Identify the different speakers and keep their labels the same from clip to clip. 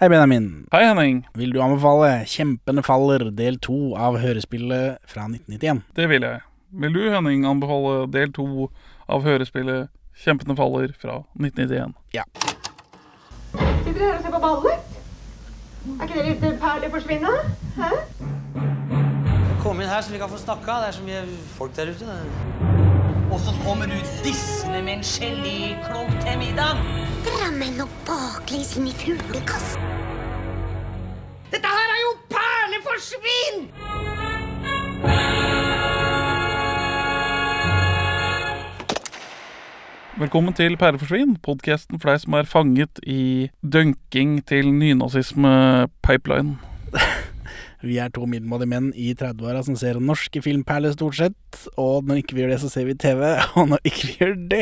Speaker 1: Hei, Benjamin.
Speaker 2: Hei, Henning.
Speaker 1: Vil du anbefale 'Kjempene faller' del to av hørespillet fra 1991?
Speaker 2: Det vil jeg. Vil du, Henning, anbefale del to av hørespillet 'Kjempene faller' fra 1991?
Speaker 1: Ja.
Speaker 3: Sitter dere her og ser på ballet? Er ikke det litt eh, perlig forsvinne? Hæ?
Speaker 4: Kom inn her så vi kan få snakka. Det er så mye folk der ute.
Speaker 5: Og så kommer du dissende med en geléklump til middag.
Speaker 6: Drammen og baklengs inn i fuglekassen.
Speaker 2: Velkommen til Pæreforsvin, podkasten for deg som er fanget i dønking til nynazisme-pipeline.
Speaker 1: Vi er to middelmådige menn i 30-åra som ser norske filmperler stort sett. Og når ikke vi gjør det, så ser vi TV. Og når ikke vi gjør det,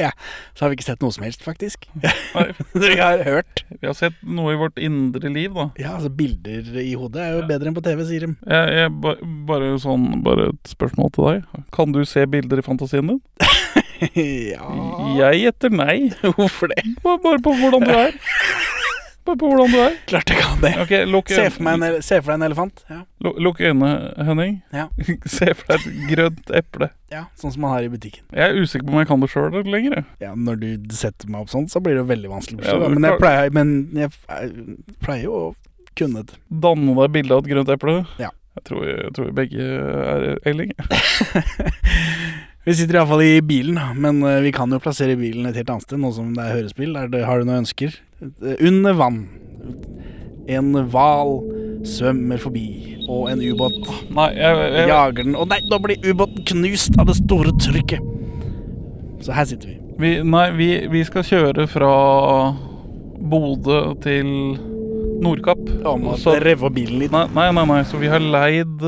Speaker 1: så har vi ikke sett noe som helst, faktisk.
Speaker 2: Nei.
Speaker 1: vi har hørt.
Speaker 2: Vi har sett noe i vårt indre liv, da.
Speaker 1: Ja, altså bilder i hodet er jo bedre enn på TV, sier de.
Speaker 2: Jeg, jeg, ba- bare, sånn, bare et spørsmål til deg. Kan du se bilder i fantasien din?
Speaker 1: ja,
Speaker 2: Jeg gjetter nei.
Speaker 1: hvorfor det?
Speaker 2: Bare, bare på hvordan du er. Bare på hvordan du er.
Speaker 1: Klart jeg kan det.
Speaker 2: Ok, lukk
Speaker 1: Se for, meg en, ele- se for deg en elefant. Ja.
Speaker 2: lu- Lukk øynene, Henning.
Speaker 1: Ja.
Speaker 2: Se for deg et grønt eple.
Speaker 1: ja, Sånn som man har i butikken.
Speaker 2: Jeg er usikker på om jeg kan det sjøl lenger. jeg.
Speaker 1: Ja, Når du setter meg opp sånn, så blir det jo veldig vanskelig å
Speaker 2: Ja,
Speaker 1: forstå.
Speaker 2: men
Speaker 1: men, jeg
Speaker 2: klart.
Speaker 1: pleier, men jeg jeg pleier jo å kunne det.
Speaker 2: Danne deg bilde av et grønt eple.
Speaker 1: Ja.
Speaker 2: Jeg tror, jeg tror vi begge er Elling.
Speaker 1: Vi sitter iallfall i bilen, da, men eh, vi kan jo plassere bilen et helt annet sted, nå som det er hørespill. Er det, har du noen ønsker? Eh, Under vann. En hval svømmer forbi, og en ubåt
Speaker 2: Nei, jeg, jeg,
Speaker 1: jager den. Å nei, nå blir ubåten knust av det store trykket! Så her sitter vi.
Speaker 2: vi, nei vi, vi skal kjøre fra Bodø til Nordkapp.
Speaker 1: Om at
Speaker 2: Så-
Speaker 1: rev av bilen litt.
Speaker 2: Nei, nei, nei, nei, så vi har leid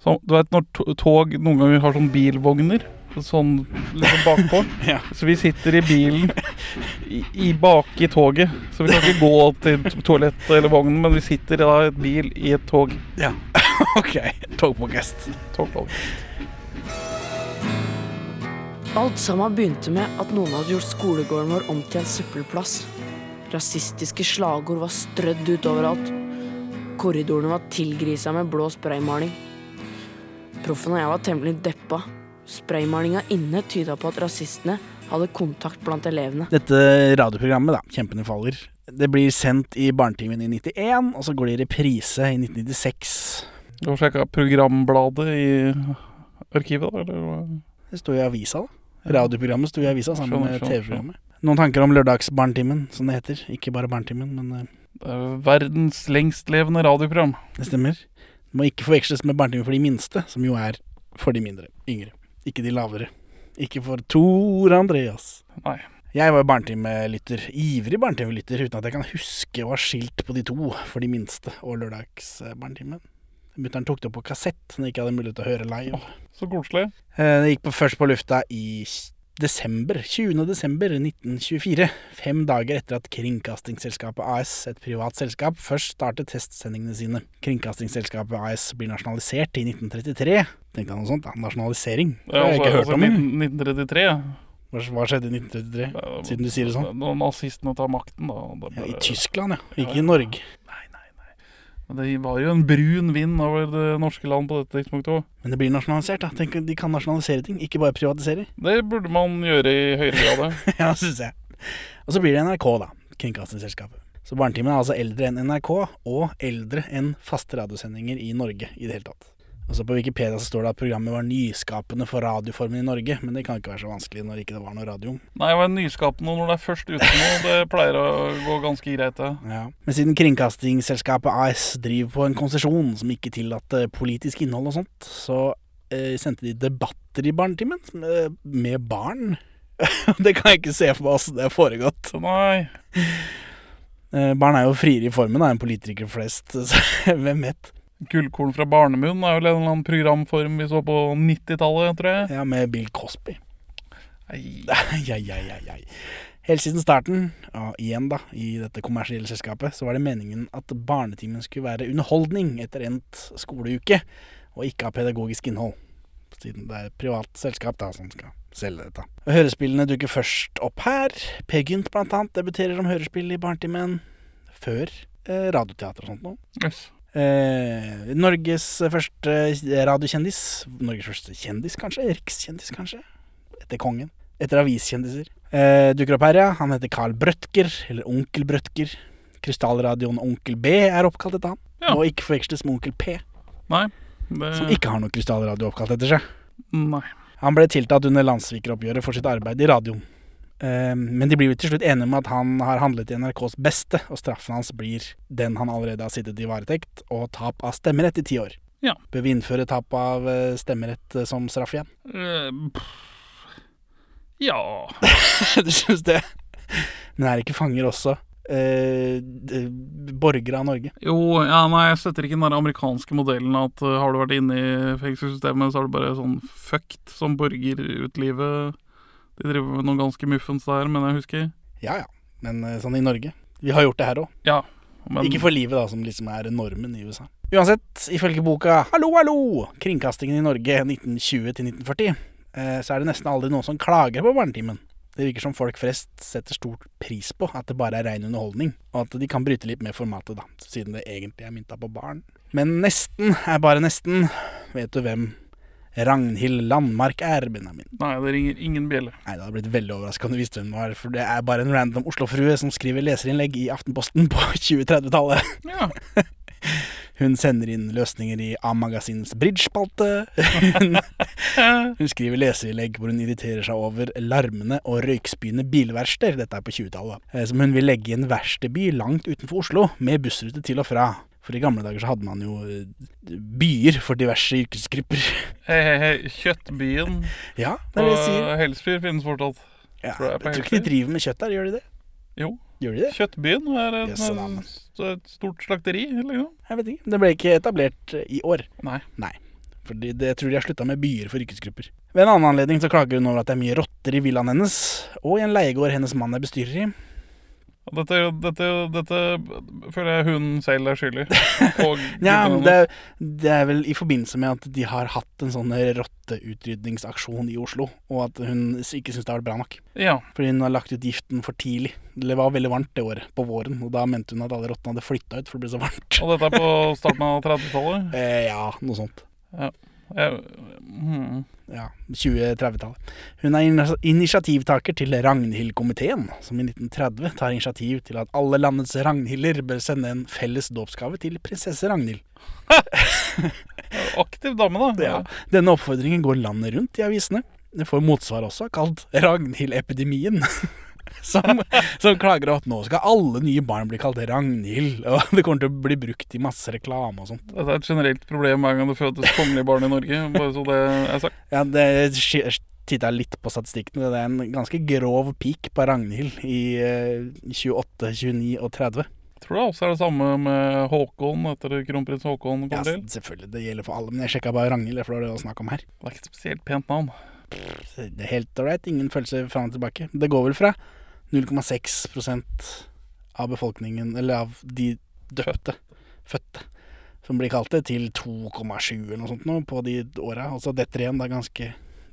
Speaker 2: sånn, Du vet når to- tog noen ganger har sånn bilvogner? Sånn liksom bakpå.
Speaker 1: Ja.
Speaker 2: Så vi sitter i bilen i, i bak i toget. Så vi kan ikke gå til to- toalettet eller vognen, men vi sitter da i et bil i et tog.
Speaker 1: Ja. ok. Togpodkast.
Speaker 2: Togtog.
Speaker 7: Alt sammen begynte med at noen hadde gjort skolegården vår om til en søppelplass. Rasistiske slagord var strødd ut overalt. Korridorene var tilgrisa med blå spraymaling. Proffen og jeg var temmelig deppa. Spraymalinga inne tyda på at rasistene hadde kontakt blant elevene.
Speaker 1: Dette radioprogrammet, da, 'Kjempene faller', det blir sendt i Barnetimen i 91, og så går det i reprise i 1996.
Speaker 2: Du har sjekka programbladet i arkivet, da? Eller? hva?
Speaker 1: Det sto i avisa, da. Radioprogrammet sto i avisa sammen
Speaker 2: Skjønner,
Speaker 1: med
Speaker 2: skjønner,
Speaker 1: TV-programmet. Noen tanker om lørdagsbarnetimen, som det heter. Ikke bare barnetimen, men eh,
Speaker 2: Det er verdens lengstlevende radioprogram.
Speaker 1: det stemmer. Det må ikke forveksles med barnetimen for de minste, som jo er for de mindre. Yngre. Ikke de lavere. Ikke for Tor Andreas.
Speaker 2: Nei.
Speaker 1: Jeg var jo barnetimelytter. Ivrig barnetimelytter, uten at jeg kan huske å ha skilt på de to for de minste og lørdagsbarnetimen. Mutter'n tok det opp på kassett når jeg ikke hadde mulighet til å høre live.
Speaker 2: Så koselig.
Speaker 1: Eh, Det gikk på, først på lufta i s- desember, 20. desember 1924. Fem dager etter at Kringkastingsselskapet AS, et privat selskap, først startet testsendingene sine. Kringkastingsselskapet AS blir nasjonalisert i 1933. Tenkte jeg noe sånt, da. Nasjonalisering. Det har jeg
Speaker 2: altså-
Speaker 1: ikke hørt
Speaker 2: altså
Speaker 1: om.
Speaker 2: 19- 1933. ja.
Speaker 1: Hva hva skjedde i 1933? Siden du sier det sånn.
Speaker 2: Når nazistene tar makten, da. da
Speaker 1: Ja, I
Speaker 2: bare-
Speaker 1: Tyskland, ja. Ikke i Norge.
Speaker 2: Nei, nei, nei. Men det var jo en brun vind over det norske land på dette tidspunktet òg.
Speaker 1: Men det blir nasjonalisert, da. Tenk, de kan nasjonalisere ting, ikke bare privatisere.
Speaker 2: Det burde man gjøre i høyere grad. ja.
Speaker 1: ja, syns jeg. Og så blir det NRK, da. Kringkastingsselskapet. Så Barnetimen er altså eldre enn NRK, og eldre enn faste radiosendinger i Norge i det hele tatt. Og så På Wikipedia så står det at programmet var nyskapende for radioformen i Norge, men det kan ikke være så vanskelig når ikke det var noe radio om.
Speaker 2: Nei, jeg var nyskapende når det er først ute nå. Det pleier å gå ganske greit, det.
Speaker 1: Ja. Men siden Kringkastingsselskapet AS driver på en konsesjon som ikke tillater politisk innhold og sånt, så eh, sendte de debatter i Barnetimen med, med barn. det kan jeg ikke se for meg åssen det har foregått.
Speaker 2: Så nei.
Speaker 1: Eh, Barn er jo friere i formen da, enn politikere flest, så hvem vet?
Speaker 2: Gullkorn fra barnemunn er vel en eller annen programform vi så på 90-tallet, tror jeg.
Speaker 1: Ja, med Bill Cosby.
Speaker 2: Nei.
Speaker 1: Ai, ai, ai, ai, ai. Helt siden starten, ja, igjen da, i dette kommersielle selskapet, så var det meningen at barnetimen skulle være underholdning etter endt skoleuke, og ikke ha pedagogisk innhold. Siden det er et privat selskap da, som skal selge dette. Hørespillene dukker først opp her. Peer Gynt blant annet debuterer som hørespill i Barnetimen. Før eh, radioteater og sånt noe.
Speaker 2: Yes.
Speaker 1: Eh, Norges første radiokjendis. Norges første kjendis, kanskje? Rikskjendis, kanskje? Etter kongen. Etter aviskjendiser. Eh, dukker opp her, ja. Han heter Carl Brødker, eller Onkel Brødker. Krystallradioen Onkel B er oppkalt etter han.
Speaker 2: Ja. Mm.
Speaker 1: Må ikke forveksles med Onkel P,
Speaker 2: Nei. Det,
Speaker 1: som ikke har noen krystallradio oppkalt etter seg.
Speaker 2: Nei.
Speaker 1: Han ble tiltalt under landssvikeroppgjøret for sitt arbeid i radioen. Eh, Men de blir jo til slutt enige om at han har handlet i NRKs beste, og straffen hans blir den han allerede har sittet i varetekt, og tap av stemmerett i ti år.
Speaker 2: Ja.
Speaker 1: Bør vi innføre tap av eh, stemmerett eh, som straff igjen?
Speaker 2: Eh, pff. ja
Speaker 1: du syns det? Men er ikke fanger også eh, d- borgere av Norge?
Speaker 2: Jo, ja, nei, jeg støtter ikke den der amerikanske modellen at eh, har du vært inne i fengselssystemet, så er du bare sånn fucked som borger ut livet. De driver med noe ganske muffens der, men jeg husker.
Speaker 1: Ja ja, men eh, sånn i Norge. Vi har gjort det her òg.
Speaker 2: Ja. Men,
Speaker 1: Ikke for livet, da, som liksom er normen i USA. Uansett, ifølge boka Hallo, hallo! Kringkastingen i Norge 1920-1940, eh, så er det nesten aldri noen som klager på barnetimen. Det virker som folk flest setter stor pris på at det bare er rein underholdning, og at de kan bryte litt med formatet, da, siden det egentlig er mynta på barn. Men nesten er bare nesten. Vet du hvem Ragnhild Landmark er, Benjamin?
Speaker 2: Nei, det ringer ingen bjelle.
Speaker 1: Nei, det hadde blitt veldig overraskende om du visste hvem det var, for det er bare en random Oslo-frue som skriver leserinnlegg i Aftenposten på 2030-tallet.
Speaker 2: Ja.
Speaker 1: Hun sender inn løsninger i A-magasinets bridge-spalte. Hun, hun skriver leserinnlegg hvor hun irriterer seg over larmende og røykspyende bilverksteder, dette er på 20-tallet, eh, som hun vil legge i en verkstedby langt utenfor Oslo, med bussrute til og fra. For i gamle dager så hadde man jo eh, byer for diverse yrkesgrupper.
Speaker 2: Hei, hei, hei. Kjøttbyen
Speaker 1: Ja, det er det
Speaker 2: og
Speaker 1: jeg sier.
Speaker 2: Helsfyr finnes fortsatt.
Speaker 1: Ja,
Speaker 2: tror jeg
Speaker 1: jeg
Speaker 2: er på
Speaker 1: tror ikke
Speaker 2: Helsfyr.
Speaker 1: de driver med kjøtt der, gjør de det?
Speaker 2: Jo.
Speaker 1: Gjør de det?
Speaker 2: Kjøttbyen er et,
Speaker 1: Jøsse navn.
Speaker 2: et stort slakteri, liksom.
Speaker 1: Jeg vet ikke. Det ble ikke etablert eh, i år.
Speaker 2: Nei.
Speaker 1: Nei. Fordi det jeg tror de har slutta med byer for yrkesgrupper. Ved en annen anledning så klager hun over at det er mye rotter i villaen hennes, og i en leiegård hennes mann er bestyrer i.
Speaker 2: Dette, dette, dette føler jeg hun selv er skyldig. Og
Speaker 1: Ja,
Speaker 2: guttene
Speaker 1: men det, er- det er vel i forbindelse med at de har hatt en sånn rotteutryddingsaksjon i Oslo, og at hun s- ikke syns det har vært bra nok.
Speaker 2: hennes. Ja.
Speaker 1: Fordi hun har lagt ut giften for tidlig. Det var veldig varmt det året, på våren, og da mente hun at alle rottene hadde flytta ut, for det ble så varmt.
Speaker 2: Og dette er på starten av 30-tallet.
Speaker 1: Eh, ja, noe sånt.
Speaker 2: Jeg- hmm.
Speaker 1: ja, 2030-tallet. Hun er inis- initiativtaker til Ragnhild-komiteen, som i 1930 tar initiativ til at alle landets Ragnhilder bør sende en felles dåpsgave til prinsesse Ragnhild.
Speaker 2: Aktiv dame, da.
Speaker 1: Ja. Denne oppfordringen går landet rundt i avisene. Det får motsvar også, kalt Ragnhild-epidemien. Som, som klager at nå skal alle nye barn bli kalt Ragnhild, og det kommer til å bli brukt i masse reklame og sånn.
Speaker 2: Dette er et generelt problem hver gang det fødes kongelige barn i Norge. Bare så det er sagt.
Speaker 1: Ja, det titta litt på statistikken. Det er en ganske grov peak på Ragnhild i eh, 28, 29 og 30.
Speaker 2: Tror du også er det samme med Håkon etter kronprins Håkon kom
Speaker 1: Ja,
Speaker 2: til?
Speaker 1: selvfølgelig, det gjelder for alle, men jeg sjekka bare Ragnhild. For det var det det var snakk om her.
Speaker 2: Det er ikke et spesielt pent navn.
Speaker 1: Så Det er helt ålreit. Ingen følelse fram og tilbake. Det går vel fra 0,6 av befolkningen, eller av de døpte, fødte, som blir kalt det, til 2,7 eller noe sånt nå på de åra. Og så detter det igjen da ganske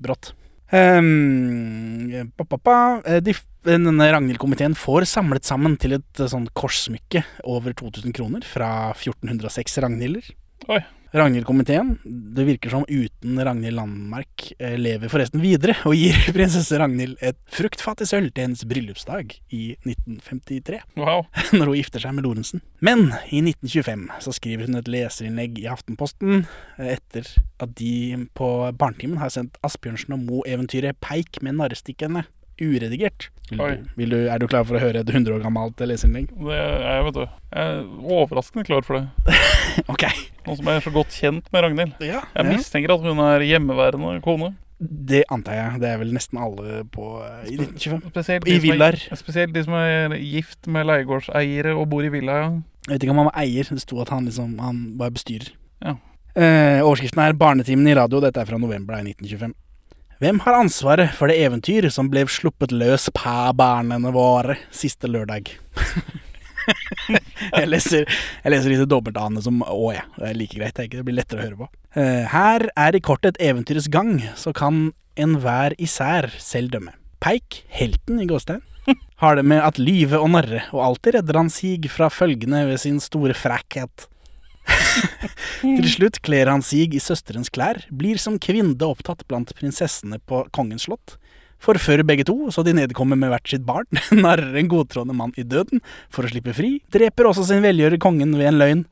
Speaker 1: brått. Ehm, pa, pa, pa. Eh, De, denne Ragnhild-komiteen får samlet sammen til et eh, sånn korssmykke over 2000 kroner fra 1406 Ragnhilder.
Speaker 2: Oi.
Speaker 1: Ragnhild-komiteen, det virker som uten Ragnhild Landmark, eh, lever forresten videre og gir prinsesse Ragnhild et fruktfattig sølv til hennes bryllupsdag i 1953
Speaker 2: Wow.
Speaker 1: når hun gifter seg med Lorentzen. Men i 1925 så skriver hun et leserinnlegg i Aftenposten eh, etter at de på Barnetimen har sendt Asbjørnsen og Moe-eventyret 'Peik med narrestikkene' uredigert. Vil
Speaker 2: Oi.
Speaker 1: du, vil du, er du klar for å høre et 100 år gammelt leserinnlegg?
Speaker 2: Det er jeg, vet du. Jeg er overraskende klar for det.
Speaker 1: Ok.
Speaker 2: Nå som jeg er så godt kjent med Ragnhild.
Speaker 1: Ja,
Speaker 2: Jeg mistenker at hun er hjemmeværende kone.
Speaker 1: Det antar jeg. Det er vel nesten alle på, eh, i 1925.
Speaker 2: Spesielt
Speaker 1: I
Speaker 2: de som er-
Speaker 1: villaer.
Speaker 2: Spesielt de som er gift med leiegårdseiere og bor i villa. ja.
Speaker 1: Jeg vet ikke om han var eier, det sto at han liksom Han var bestyrer.
Speaker 2: Ja.
Speaker 1: Eh, overskriften er 'Barnetimen i radio', dette er fra november da, i 1925. Hvem har ansvaret for det eventyr som ble sluppet løs på barnene våre siste lørdag? jeg leser, jeg leser disse dobbeltane som å, ja. Det er like greit, jeg, det blir lettere å høre på. Eh, her er i kortet eventyrets gang, så kan enhver især selv dømme. Peik, helten i Gåstein, Har det med at lyve og narre, og alltid redder han Sig fra følgende ved sin store frækhet. Til slutt kler han Sig i søsterens klær, blir som kvinne opptatt blant prinsessene på kongens slott, forfører begge to, så de nedkommer med hvert sitt barn, narrer en godtroende mann i døden for å slippe fri, dreper også sin velgjører kongen ved en løgn,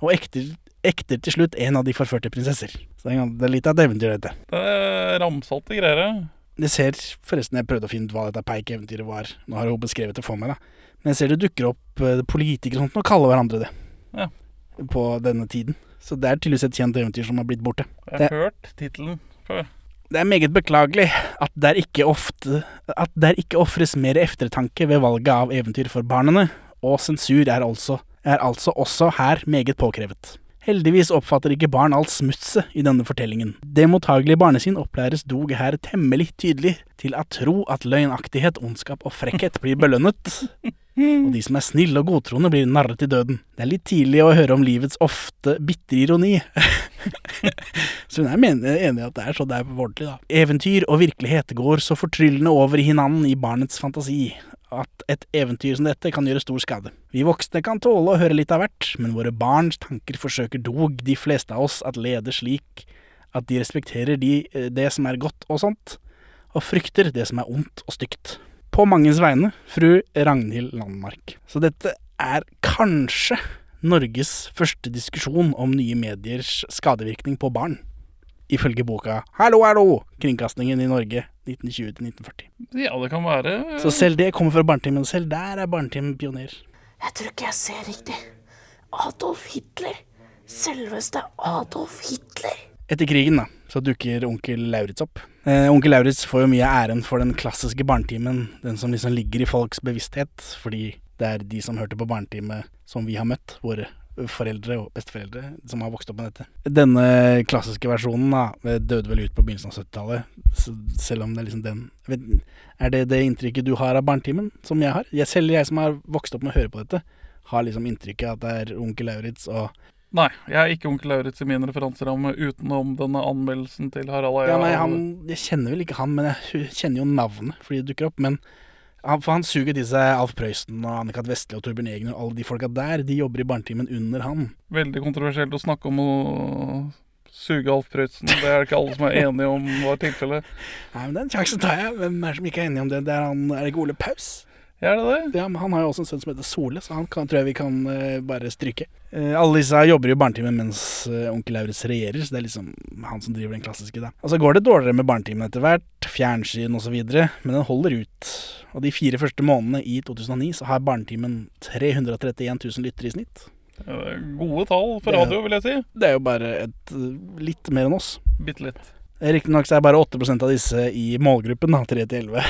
Speaker 1: og ekter, ekter til slutt en av de forførte prinsesser. Så det er gan- det er litt av et eventyr, dette.
Speaker 2: Det er ramsalte greier. det.
Speaker 1: Det ser forresten Jeg prøvde å finne ut hva dette peikeventyret var. Nå har hun beskrevet det for meg, da. Men jeg ser det dukker opp eh, politikere og sånt og kaller hverandre det.
Speaker 2: Ja.
Speaker 1: På denne tiden. Så det er tydeligvis et kjent eventyr som har blitt borte.
Speaker 2: Jeg har
Speaker 1: Det-
Speaker 2: hørt tittelen før.
Speaker 1: Det er meget beklagelig at der ikke ofte At der ikke ofres mer eftertanke ved valget av eventyr for barnene, og sensur er altså, er altså også her meget påkrevet. Heldigvis oppfatter ikke barn alt smutset i denne fortellingen. Det mottagelige barnesinn opplæres dog her temmelig tydelig til at tro at løgnaktighet, ondskap og frekkhet blir belønnet, og de som er snille og godtroende blir narret i døden. Det er litt tidlig å høre om livets ofte bitre ironi, så hun er men- enig i at det er sånn det er på ordentlig, da. Eventyr og virkelighet går så fortryllende over i hinanden i barnets fantasi at et eventyr som dette kan gjøre stor skade. Vi voksne kan tåle å høre litt av hvert, men våre barns tanker forsøker dog de fleste av oss at lede slik at de respekterer de, eh, det som er godt og sånt, og frykter det som er ondt og stygt. På manges vegne, fru Ragnhild Landmark. Så dette er kanskje Norges første diskusjon om nye mediers skadevirkning på barn. Ifølge boka 'Hallo, hallo!' Kringkastingen i Norge 1920-1940.
Speaker 2: Ja, det kan være
Speaker 1: Så selv det kommer fra barnetimen. Selv der er barnetimen pioner.
Speaker 7: Jeg tror ikke jeg ser riktig. Adolf Hitler. Selveste Adolf Hitler.
Speaker 1: Etter krigen da, så dukker onkel Lauritz opp. Eh, onkel Lauritz får jo mye av æren for den klassiske barnetimen, den som liksom ligger i folks bevissthet, fordi det er de som hørte på barnetime som vi har møtt, våre foreldre og besteforeldre, som har vokst opp med dette. Denne klassiske versjonen da, eh, døde vel ut på begynnelsen av 70-tallet, så selv om det er liksom den Jeg vet- Er det det inntrykket du har av barnetimen, som jeg har? Jeg, selv jeg som har vokst opp med å høre på dette, har liksom inntrykket at det er onkel Lauritz og
Speaker 2: Nei, jeg er ikke onkel Lauritz i min referanseramme utenom denne anmeldelsen til Harald Eia.
Speaker 1: Ja, nei, han, jeg kjenner vel ikke han, men jeg hu- kjenner jo navnet fordi det dukker opp. Men han, for han suger til seg Alf Prøysen og Annikat Vestli og Torbjørn Egner og alle de folka der. De jobber i barnetimen under han.
Speaker 2: Veldig kontroversielt å snakke om å suge Alf Prøysen. Det er ikke alle som er enige om var tilfellet.
Speaker 1: Nei, men Den sjansen tar jeg. Hvem er det som ikke er enig om det? Det er han, er det ikke Ole Paus?
Speaker 2: Er det det?
Speaker 1: Ja, men Han har jo også en sønn som heter Sole, så han kan, tror jeg vi kan eh, bare stryke. Eh, alle disse her jobber jo i barnetimen mens eh, onkel Lauritz regjerer, så det er liksom han som driver den klassiske, da. Og så går det dårligere med barnetimen etter hvert, fjernsyn osv., men den holder ut. Og de fire første månedene i 2009 så har barnetimen 331 000 lyttere i snitt.
Speaker 2: Ja, det er Gode tall
Speaker 1: Det
Speaker 2: for
Speaker 1: er-
Speaker 2: radio, vil jeg si.
Speaker 1: Det er jo bare et, eh, litt mer enn oss. Eh,
Speaker 2: Bitte litt.
Speaker 1: Riktignok så er bare 8 av disse i målgruppen, da, 3 til 11,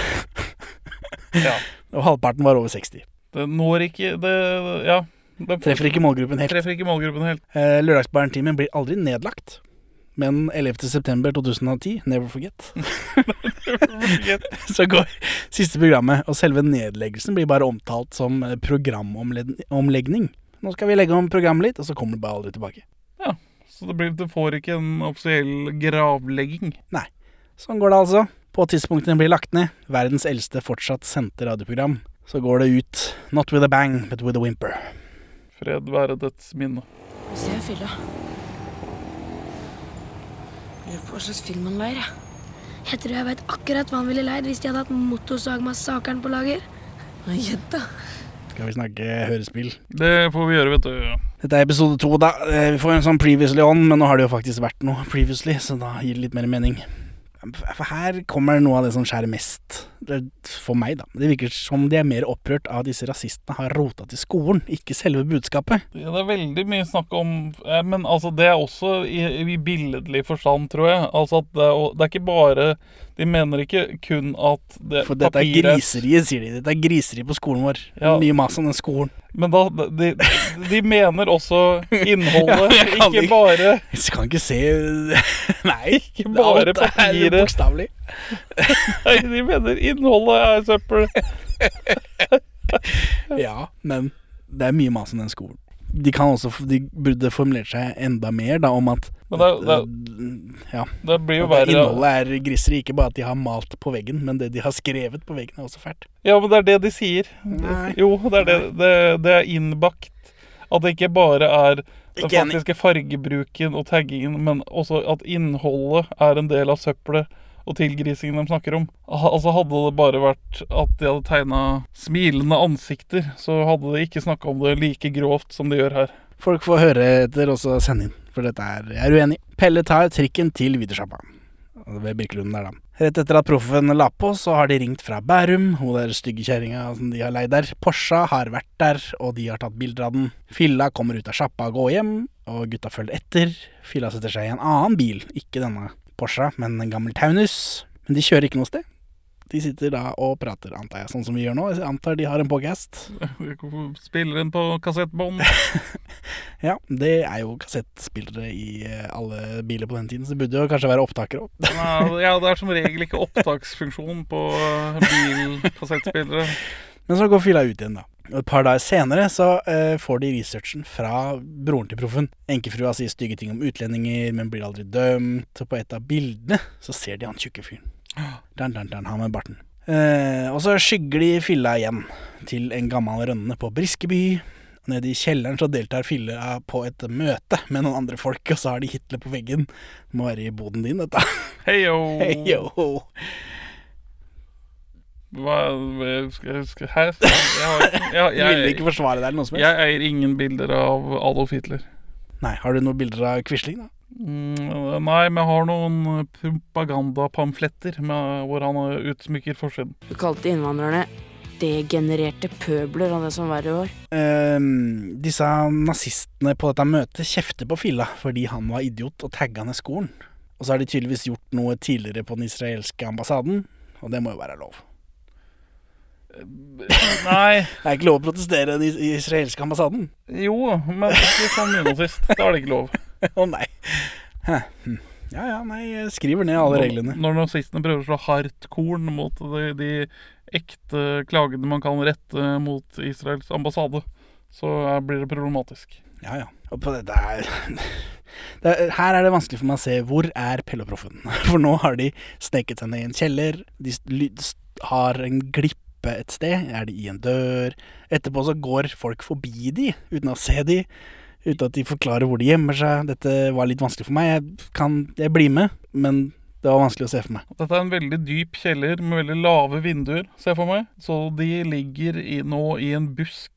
Speaker 2: Ja.
Speaker 1: og halvparten var over 60.
Speaker 2: Det når ikke Det Ja. Det
Speaker 1: Treffer ikke målgruppen helt.
Speaker 2: treffer ikke målgruppen helt.
Speaker 1: Eh, Lørdagsbarnetimen blir aldri nedlagt. Men 11.9.2010, never forget, så går siste programmet, og selve nedleggelsen blir bare omtalt som eh, programomlegning. Nå skal vi legge om programmet litt, og så kommer det bare aldri tilbake.
Speaker 2: Så det, blir, det får ikke en offisiell gravlegging.
Speaker 1: Sånn går det altså. På tidspunktene blir lagt ned, verdens eldste fortsatt sendte radioprogram. Så går det ut Not with a bang, but with a whimper.
Speaker 2: Fred være dets minne.
Speaker 7: Nå ser jeg fylla. Lurer på hva slags film han leier. jeg.
Speaker 8: Jeg tror jeg vet akkurat hva han ville leid hvis de hadde hatt motorsagmassakren på lager.
Speaker 7: Nei, Gjett, da.
Speaker 1: Skal vi snakke hørespill?
Speaker 2: Det får vi gjøre, vet du.
Speaker 1: Dette er episode to, da. Eh, Vi får en sånn previously on, men nå har det jo faktisk vært noe previously, så da gir det litt mer mening. For her kommer noe av det som skjærer mest. Det er For meg, da. Det virker som de er mer opprørt av at disse rasistene har rota til skolen, ikke selve budskapet.
Speaker 2: Ja, det er veldig mye snakk om eh, Men altså, det er også i, i billedlig forstand, tror jeg. Altså at det er, det er ikke bare De mener ikke kun at det
Speaker 1: For dette er
Speaker 2: papir er-
Speaker 1: griseriet, sier de. Dette er griseri på skolen vår.
Speaker 2: Ja.
Speaker 1: Mye mas om den skolen.
Speaker 2: Men da De, de mener også innholdet,
Speaker 1: Ja, jeg kan
Speaker 2: ikke
Speaker 1: ikke-
Speaker 2: bare
Speaker 1: Så kan ikke se Nei.
Speaker 2: Ikke bare
Speaker 1: alt er
Speaker 2: papiret.
Speaker 1: Bokstavelig.
Speaker 2: Nei, de mener innholdet er søppel.
Speaker 1: Ja, men det er mye mas om den skolen. de kan også f- De burde formulert seg enda mer da om at
Speaker 2: Men det, er- det, er-
Speaker 1: eh, ja,
Speaker 2: det blir jo
Speaker 1: at
Speaker 2: verre
Speaker 1: innholdet er griseri. Ikke bare at de har malt på veggen, men det de har skrevet på veggen, er også fælt.
Speaker 2: Ja, men det er det de sier.
Speaker 1: Nei.
Speaker 2: Jo, det er det. Det, det er innbakt. At det ikke bare er den
Speaker 1: Ikke enig.
Speaker 2: faktiske fargebruken og taggingen, men også at innholdet er en del av søppelet og tilgrisingen de snakker om. Ha- Altså Hadde det bare vært at de hadde tegna smilende ansikter, så hadde de ikke snakka om det like grovt som de gjør her.
Speaker 1: Folk får høre etter og så sende inn, for dette er jeg er uenig. i. Pelle tar trikken til Widersjappa. Og det er Ved Birkelunden der, da. Rett etter at proffen la på, så har de ringt fra Bærum, hun der stygge kjerringa som de har leid der. Porscha har vært der, og de har tatt bilder av den. Filla kommer ut av sjappa og går hjem, og gutta følger etter. Filla setter seg i en annen bil, ikke denne Porscha, men en gammel Taunus. Men de kjører ikke noe sted. De sitter da og prater, antar jeg, sånn som vi gjør nå. Jeg antar de har en podcast.
Speaker 2: Spiller den på kassettbånd.
Speaker 1: Ja, det er jo kassettspillere i eh, alle biler på den tiden, så det burde jo kanskje være opptakere òg.
Speaker 2: Nei, altså, Ja, det er som regel ikke opptaksfunksjon på eh, bilkassettspillere.
Speaker 1: Men så går fila ut igjen, da. Og et par dager senere så eh, får de researchen fra broren til proffen. Enkefrua sier stygge ting om utlendinger, men blir aldri dømt. Og på et av bildene så ser de han tjukke fyren. Dan, dan, dan, han med barten. Eh, og så skygger de filla igjen til en gammel rønne på Briskeby. Nede i kjelleren så deltar filla på et møte med noen andre folk, og så har de Hitler på veggen. Må være i boden din, dette.
Speaker 2: Heyo!
Speaker 1: Hei, yo.
Speaker 2: Hva skal jeg huske Hæ? Jeg, har- jeg,
Speaker 1: Jeg ville
Speaker 2: jeg,
Speaker 1: ikke forsvare deg eller noe som helst.
Speaker 2: jeg eier ingen bilder av Adolf Hitler.
Speaker 1: Nei, Har du noen bilder av Quisling, da?
Speaker 2: Mm, nei, men jeg har noen propagandapamfletter med- hvor han eh, utsmykker forsiden.
Speaker 7: Hun kalte innvandrerne degenererte pøbler av det som verre var.
Speaker 1: Ehm, disse nazistene på dette møtet kjefter på Filla fordi han var idiot og tagga ned skolen. Og så har de tydeligvis gjort noe tidligere på den israelske ambassaden, og det må jo være lov.
Speaker 2: Eh, Nei,
Speaker 1: Det er ikke lov å protestere i den is- israelske ambassaden.
Speaker 2: jo, men ikke som nynazist. Da er det ikke lov.
Speaker 1: Å nei. Hæ, hm. Ja ja, nei, jeg skriver ned alle reglene.
Speaker 2: Når nazistene prøver å slå hardt korn mot de, de ekte klagene man kan rette mot Israels ambassade, så eh, blir det problematisk.
Speaker 1: Ja ja. Og på det der det er, Her er det vanskelig for meg å se hvor er Pelle og Proffen. For nå har de sneket seg ned i en kjeller. De s- ly- s- har en glippe et sted. Er de i en dør? Etterpå så går folk forbi de uten å se de. Uten at de forklarer hvor de gjemmer seg. Dette var litt vanskelig for meg. Jeg kan jeg blir med, men det var vanskelig å se for meg.
Speaker 2: Dette er en veldig dyp kjeller med veldig lave vinduer, ser jeg for meg. Så de ligger i, nå i en busk.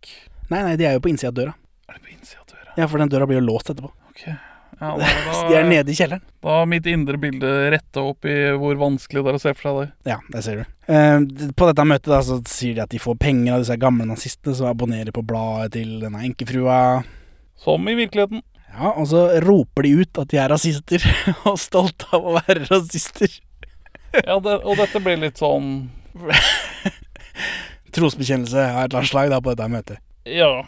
Speaker 1: Nei, nei, de er jo på innsida av døra.
Speaker 2: Er det på innsida av døra?
Speaker 1: Ja, for den døra blir jo låst etterpå.
Speaker 2: Ok. Ja, da, da,
Speaker 1: Så de er nede i kjelleren.
Speaker 2: da er mitt indre bilde retta opp i hvor vanskelig det er å se for seg det.
Speaker 1: Ja, det ser du. Eh, d- på dette møtet da, så sier de at de får penger av disse gamle nazistene som abonnerer på bladet til denne enkefrua.
Speaker 2: Som i virkeligheten.
Speaker 1: Ja, og så roper de ut at de er rasister, og stolte av å være rasister.
Speaker 2: Ja, det, og dette blir litt sånn
Speaker 1: Trosbekjennelse av et eller annet slag da, på dette møtet.
Speaker 2: Ja.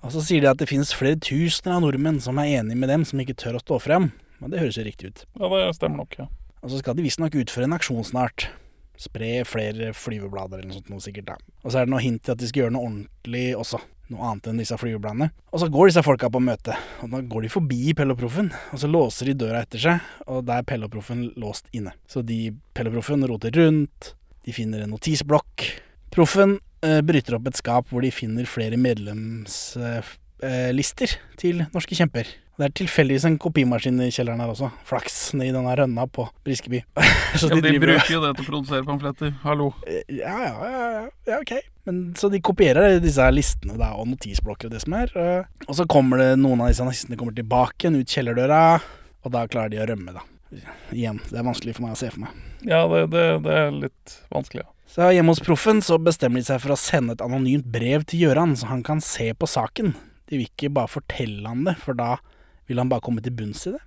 Speaker 1: Og så sier de at det finnes flere tusener av nordmenn som er enige med dem, som ikke tør å stå frem. Men det høres jo riktig ut.
Speaker 2: ja det stemmer nok. ja.
Speaker 1: Og så skal de visstnok utføre en aksjon snart. Spre flere flyveblader eller noe sånt noe sikkert da. Og så er det noe hint til at de skal gjøre noe ordentlig også. Noe annet enn disse flyvebladene. Og så går disse folka på møte. Og da går de forbi Pelle og Proffen, og så låser de døra etter seg, og der er Pelle og Proffen låst inne. Så de Pelle og Proffen roter rundt, de finner en notisblokk. Proffen eh, bryter opp et skap hvor de finner flere medlemslister til norske kjemper. Det er tilfeldigvis en kopimaskin i kjelleren her også. Flaks ned i denne rønna på Briskeby. Så
Speaker 2: ja de
Speaker 1: driver-
Speaker 2: bruker jo det til å produsere pamfletter. Hallo.
Speaker 1: Eh, Ja, ja, ja, ja, ja, ok. Men, så de kopierer disse her listene da, og notisblokker og det som er. eh, Og så kommer det noen av disse nazistene kommer tilbake igjen ut kjellerdøra, og da klarer de å rømme, da. Igjen. Det er vanskelig for meg å se for meg.
Speaker 2: Ja, det, det, det er litt vanskelig, ja.
Speaker 1: Så hjemme hos proffen så bestemmer de seg for å sende et anonymt brev til Gøran, så han kan se på saken. De vil ikke bare fortelle han det, for da vil han bare komme til bunns i det.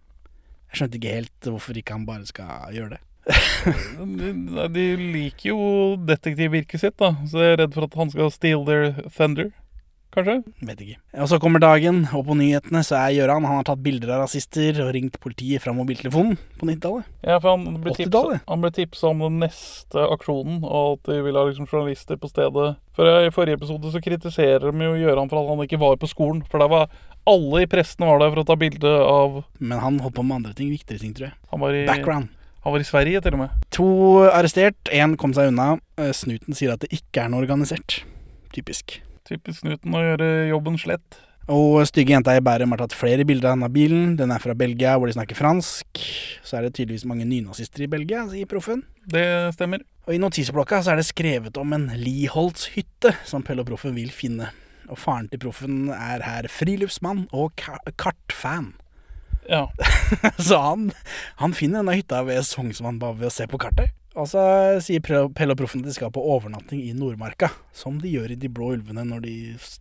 Speaker 1: Jeg skjønte ikke helt hvorfor ikke han bare skal gjøre det.
Speaker 2: De, de liker jo detektivvirket sitt, da. Så jeg er redd for at han skal steal their thunder, kanskje.
Speaker 1: Vet ikke. Og så kommer dagen, og på nyhetene så er Gøran Han har tatt bilder av rasister og ringt politiet fra mobiltelefonen på 90-tallet.
Speaker 2: Ja, for han ble, tipsa,
Speaker 1: 80-tallet.
Speaker 2: han ble tipsa om den neste aksjonen, og at de ville ha liksom journalister på stedet. For I forrige episode så kritiserer de jo Gøran for at han ikke var på skolen, for der var Alle i pressen var der for å ta bilde av
Speaker 1: Men han holdt på med andre ting, viktigere ting, tror jeg.
Speaker 2: han var, i,
Speaker 1: Background.
Speaker 2: han var i Sverige, til og med.
Speaker 1: To arrestert, én kom seg unna. Eh, Snuten sier at det ikke er noe organisert. Typisk.
Speaker 2: Typisk Snuten å gjøre jobben slett.
Speaker 1: Og stygge jenta i Bærum har tatt flere bilder av denne bilen. Den er fra Belgia, hvor de snakker fransk. Så er det tydeligvis mange nynazister i Belgia, sier proffen.
Speaker 2: Det stemmer.
Speaker 1: Og i notisblokka så er det skrevet om en Liholts-hytte som Pelle og proffen vil finne. Og faren til proffen er her friluftsmann og ka kartfan.
Speaker 2: Ja.
Speaker 1: Så han, han finner denne hytta ved Sognsvann bare ved å se på kartet. Og så sier Pre- Pelle og Proffen at de skal på overnatting i Nordmarka, som de gjør i De blå ulvene når de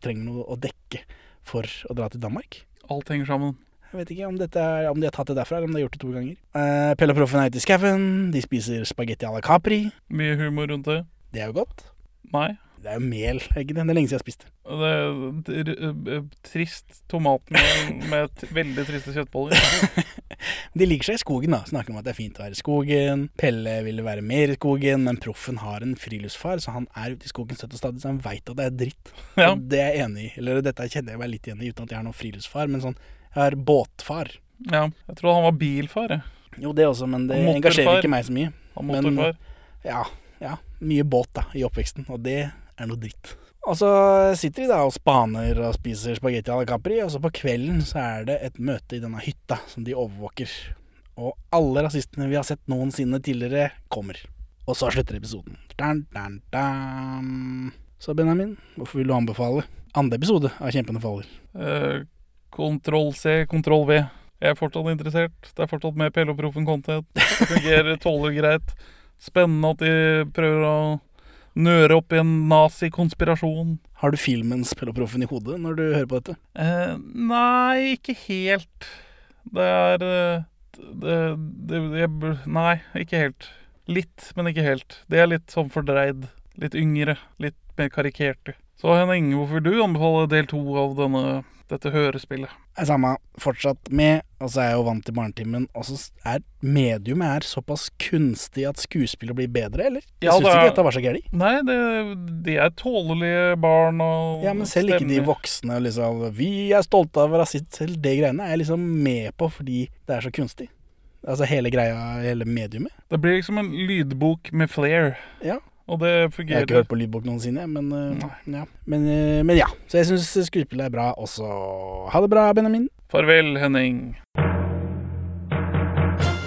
Speaker 1: trenger noe å dekke for å dra til Danmark.
Speaker 2: Alt henger sammen.
Speaker 1: Jeg vet ikke om, dette er, om de har tatt det derfra, eller om de har gjort det to ganger. Eh, Pelle og Proffen er ute i skauen, de spiser spagetti à la Capri.
Speaker 2: Mye humor rundt det.
Speaker 1: Det er jo godt.
Speaker 2: Nei.
Speaker 1: Det er jo mel, er ikke det? Det er lenge siden jeg har spist det.
Speaker 2: Det er dr- ø- ø- eh, trist tomatmel med t veldig triste kjøttboller.
Speaker 1: De liker seg i skogen, da. Snakker om at det er fint å være i skogen. Pelle ville være mer i skogen, men proffen har en friluftsfar, så han er ute i skogen støtt og stadig, så han veit at det er dritt.
Speaker 2: Ja.
Speaker 1: Og Det er jeg enig i. Eller dette kjenner jeg meg litt igjen i, uten at jeg har noen friluftsfar, men sånn jeg har båtfar.
Speaker 2: ja. Jeg tror han var bilfar, jeg.
Speaker 1: Jo, det også, men det
Speaker 2: Og motorfar.
Speaker 1: engasjerer ikke meg så mye.
Speaker 2: Han
Speaker 1: Men-
Speaker 2: motorfar.
Speaker 1: Ja, ja. Mye båt, da, i oppveksten, og det er noe dritt. Og så sitter de da og spaner og spiser spagetti à la Capri, og så på kvelden så er det et møte i denne hytta som de overvåker. Og alle rasistene vi har sett noensinne tidligere, kommer. Og så slutter episoden. Dan, dan, dan. Så Benjamin, hvorfor vil du anbefale andre episode av Kjempende faller?
Speaker 2: Eh, Kontroll C, kontroll V. Jeg er fortsatt interessert. Det er fortsatt med PLO-proffen content. Fungerer, tåler greit. Spennende at de prøver å nøre opp i en nazikonspirasjon.
Speaker 1: Har du filmen 'Spelloproffen' i hodet når du hører på dette?
Speaker 2: Eh, nei, ikke helt. Det er eh, det, det, jeg, bl- Nei, ikke helt. Litt, men ikke helt. Det er litt sånn fordreid. Litt yngre. Litt mer karikerte. Så Henning, hvorfor vil du anbefale del to av denne, dette hørespillet?
Speaker 1: er samme fortsatt med, og så er jeg jo vant til barnetimen. Og så er mediumet er såpass kunstig at skuespillet blir bedre, eller? Jeg
Speaker 2: Ja,
Speaker 1: syns
Speaker 2: det er-
Speaker 1: ikke dette var så gærent.
Speaker 2: Nei, det, de er tålelige barn og
Speaker 1: Ja, men selv ikke de
Speaker 2: stemmer.
Speaker 1: voksne liksom Vi er stolte av rasist, selv det greiene er jeg liksom med på fordi det er så kunstig. Altså hele greia, hele mediumet.
Speaker 2: Det blir liksom en lydbok med flair,
Speaker 1: Ja.
Speaker 2: og det
Speaker 1: Jeg har
Speaker 2: fungerer.
Speaker 1: ikke hørt på lydbok noensinne, men, øh, ja. men, øh, men ja. Så jeg syns skuespillet er bra også. Ha det bra, Benjamin.
Speaker 2: Farvel, Henning.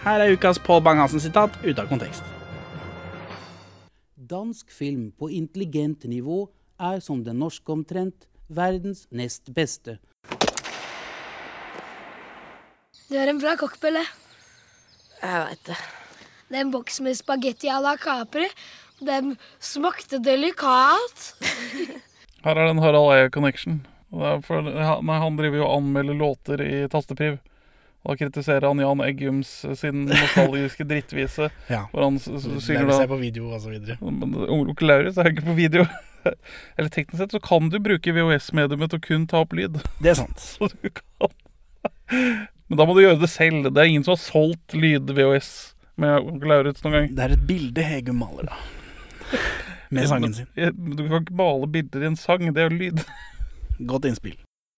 Speaker 1: Her er ukas Pål Bang-Hansen-sitat ute av kontekst.
Speaker 9: Dansk film på intelligent nivå er som den norske omtrent verdens nest beste.
Speaker 8: Du er en bra kokk, Pelle.
Speaker 7: Jeg veit det.
Speaker 8: Det er en boks med spagetti à la Capri. Den smakte delikat.
Speaker 2: Her er det en Harald Eia-connection. For, han- nei, han driver jo og anmelder låter i Tastepriv. Da kritiserer han Jan Eggums eh, sin nostalgiske drittvise,
Speaker 1: Ja.
Speaker 2: hvor han s- s-
Speaker 1: Det
Speaker 2: synger
Speaker 1: vil
Speaker 2: da
Speaker 1: se på video og så videre.
Speaker 2: Men Onkel Laurus er jo ikke på video. Eller teknisk sett så kan du bruke VHS-mediumet og kun ta opp lyd.
Speaker 1: Det er sant.
Speaker 2: Så du kan. Men da må du gjøre det selv. Det er ingen som har solgt lyd-VHS med onkel Lauritz noen gang.
Speaker 1: Det er et bilde Hegum maler, da. Med sangen sin.
Speaker 2: Du kan ikke male bilder i en sang. Det er jo lyd.
Speaker 1: Godt innspill.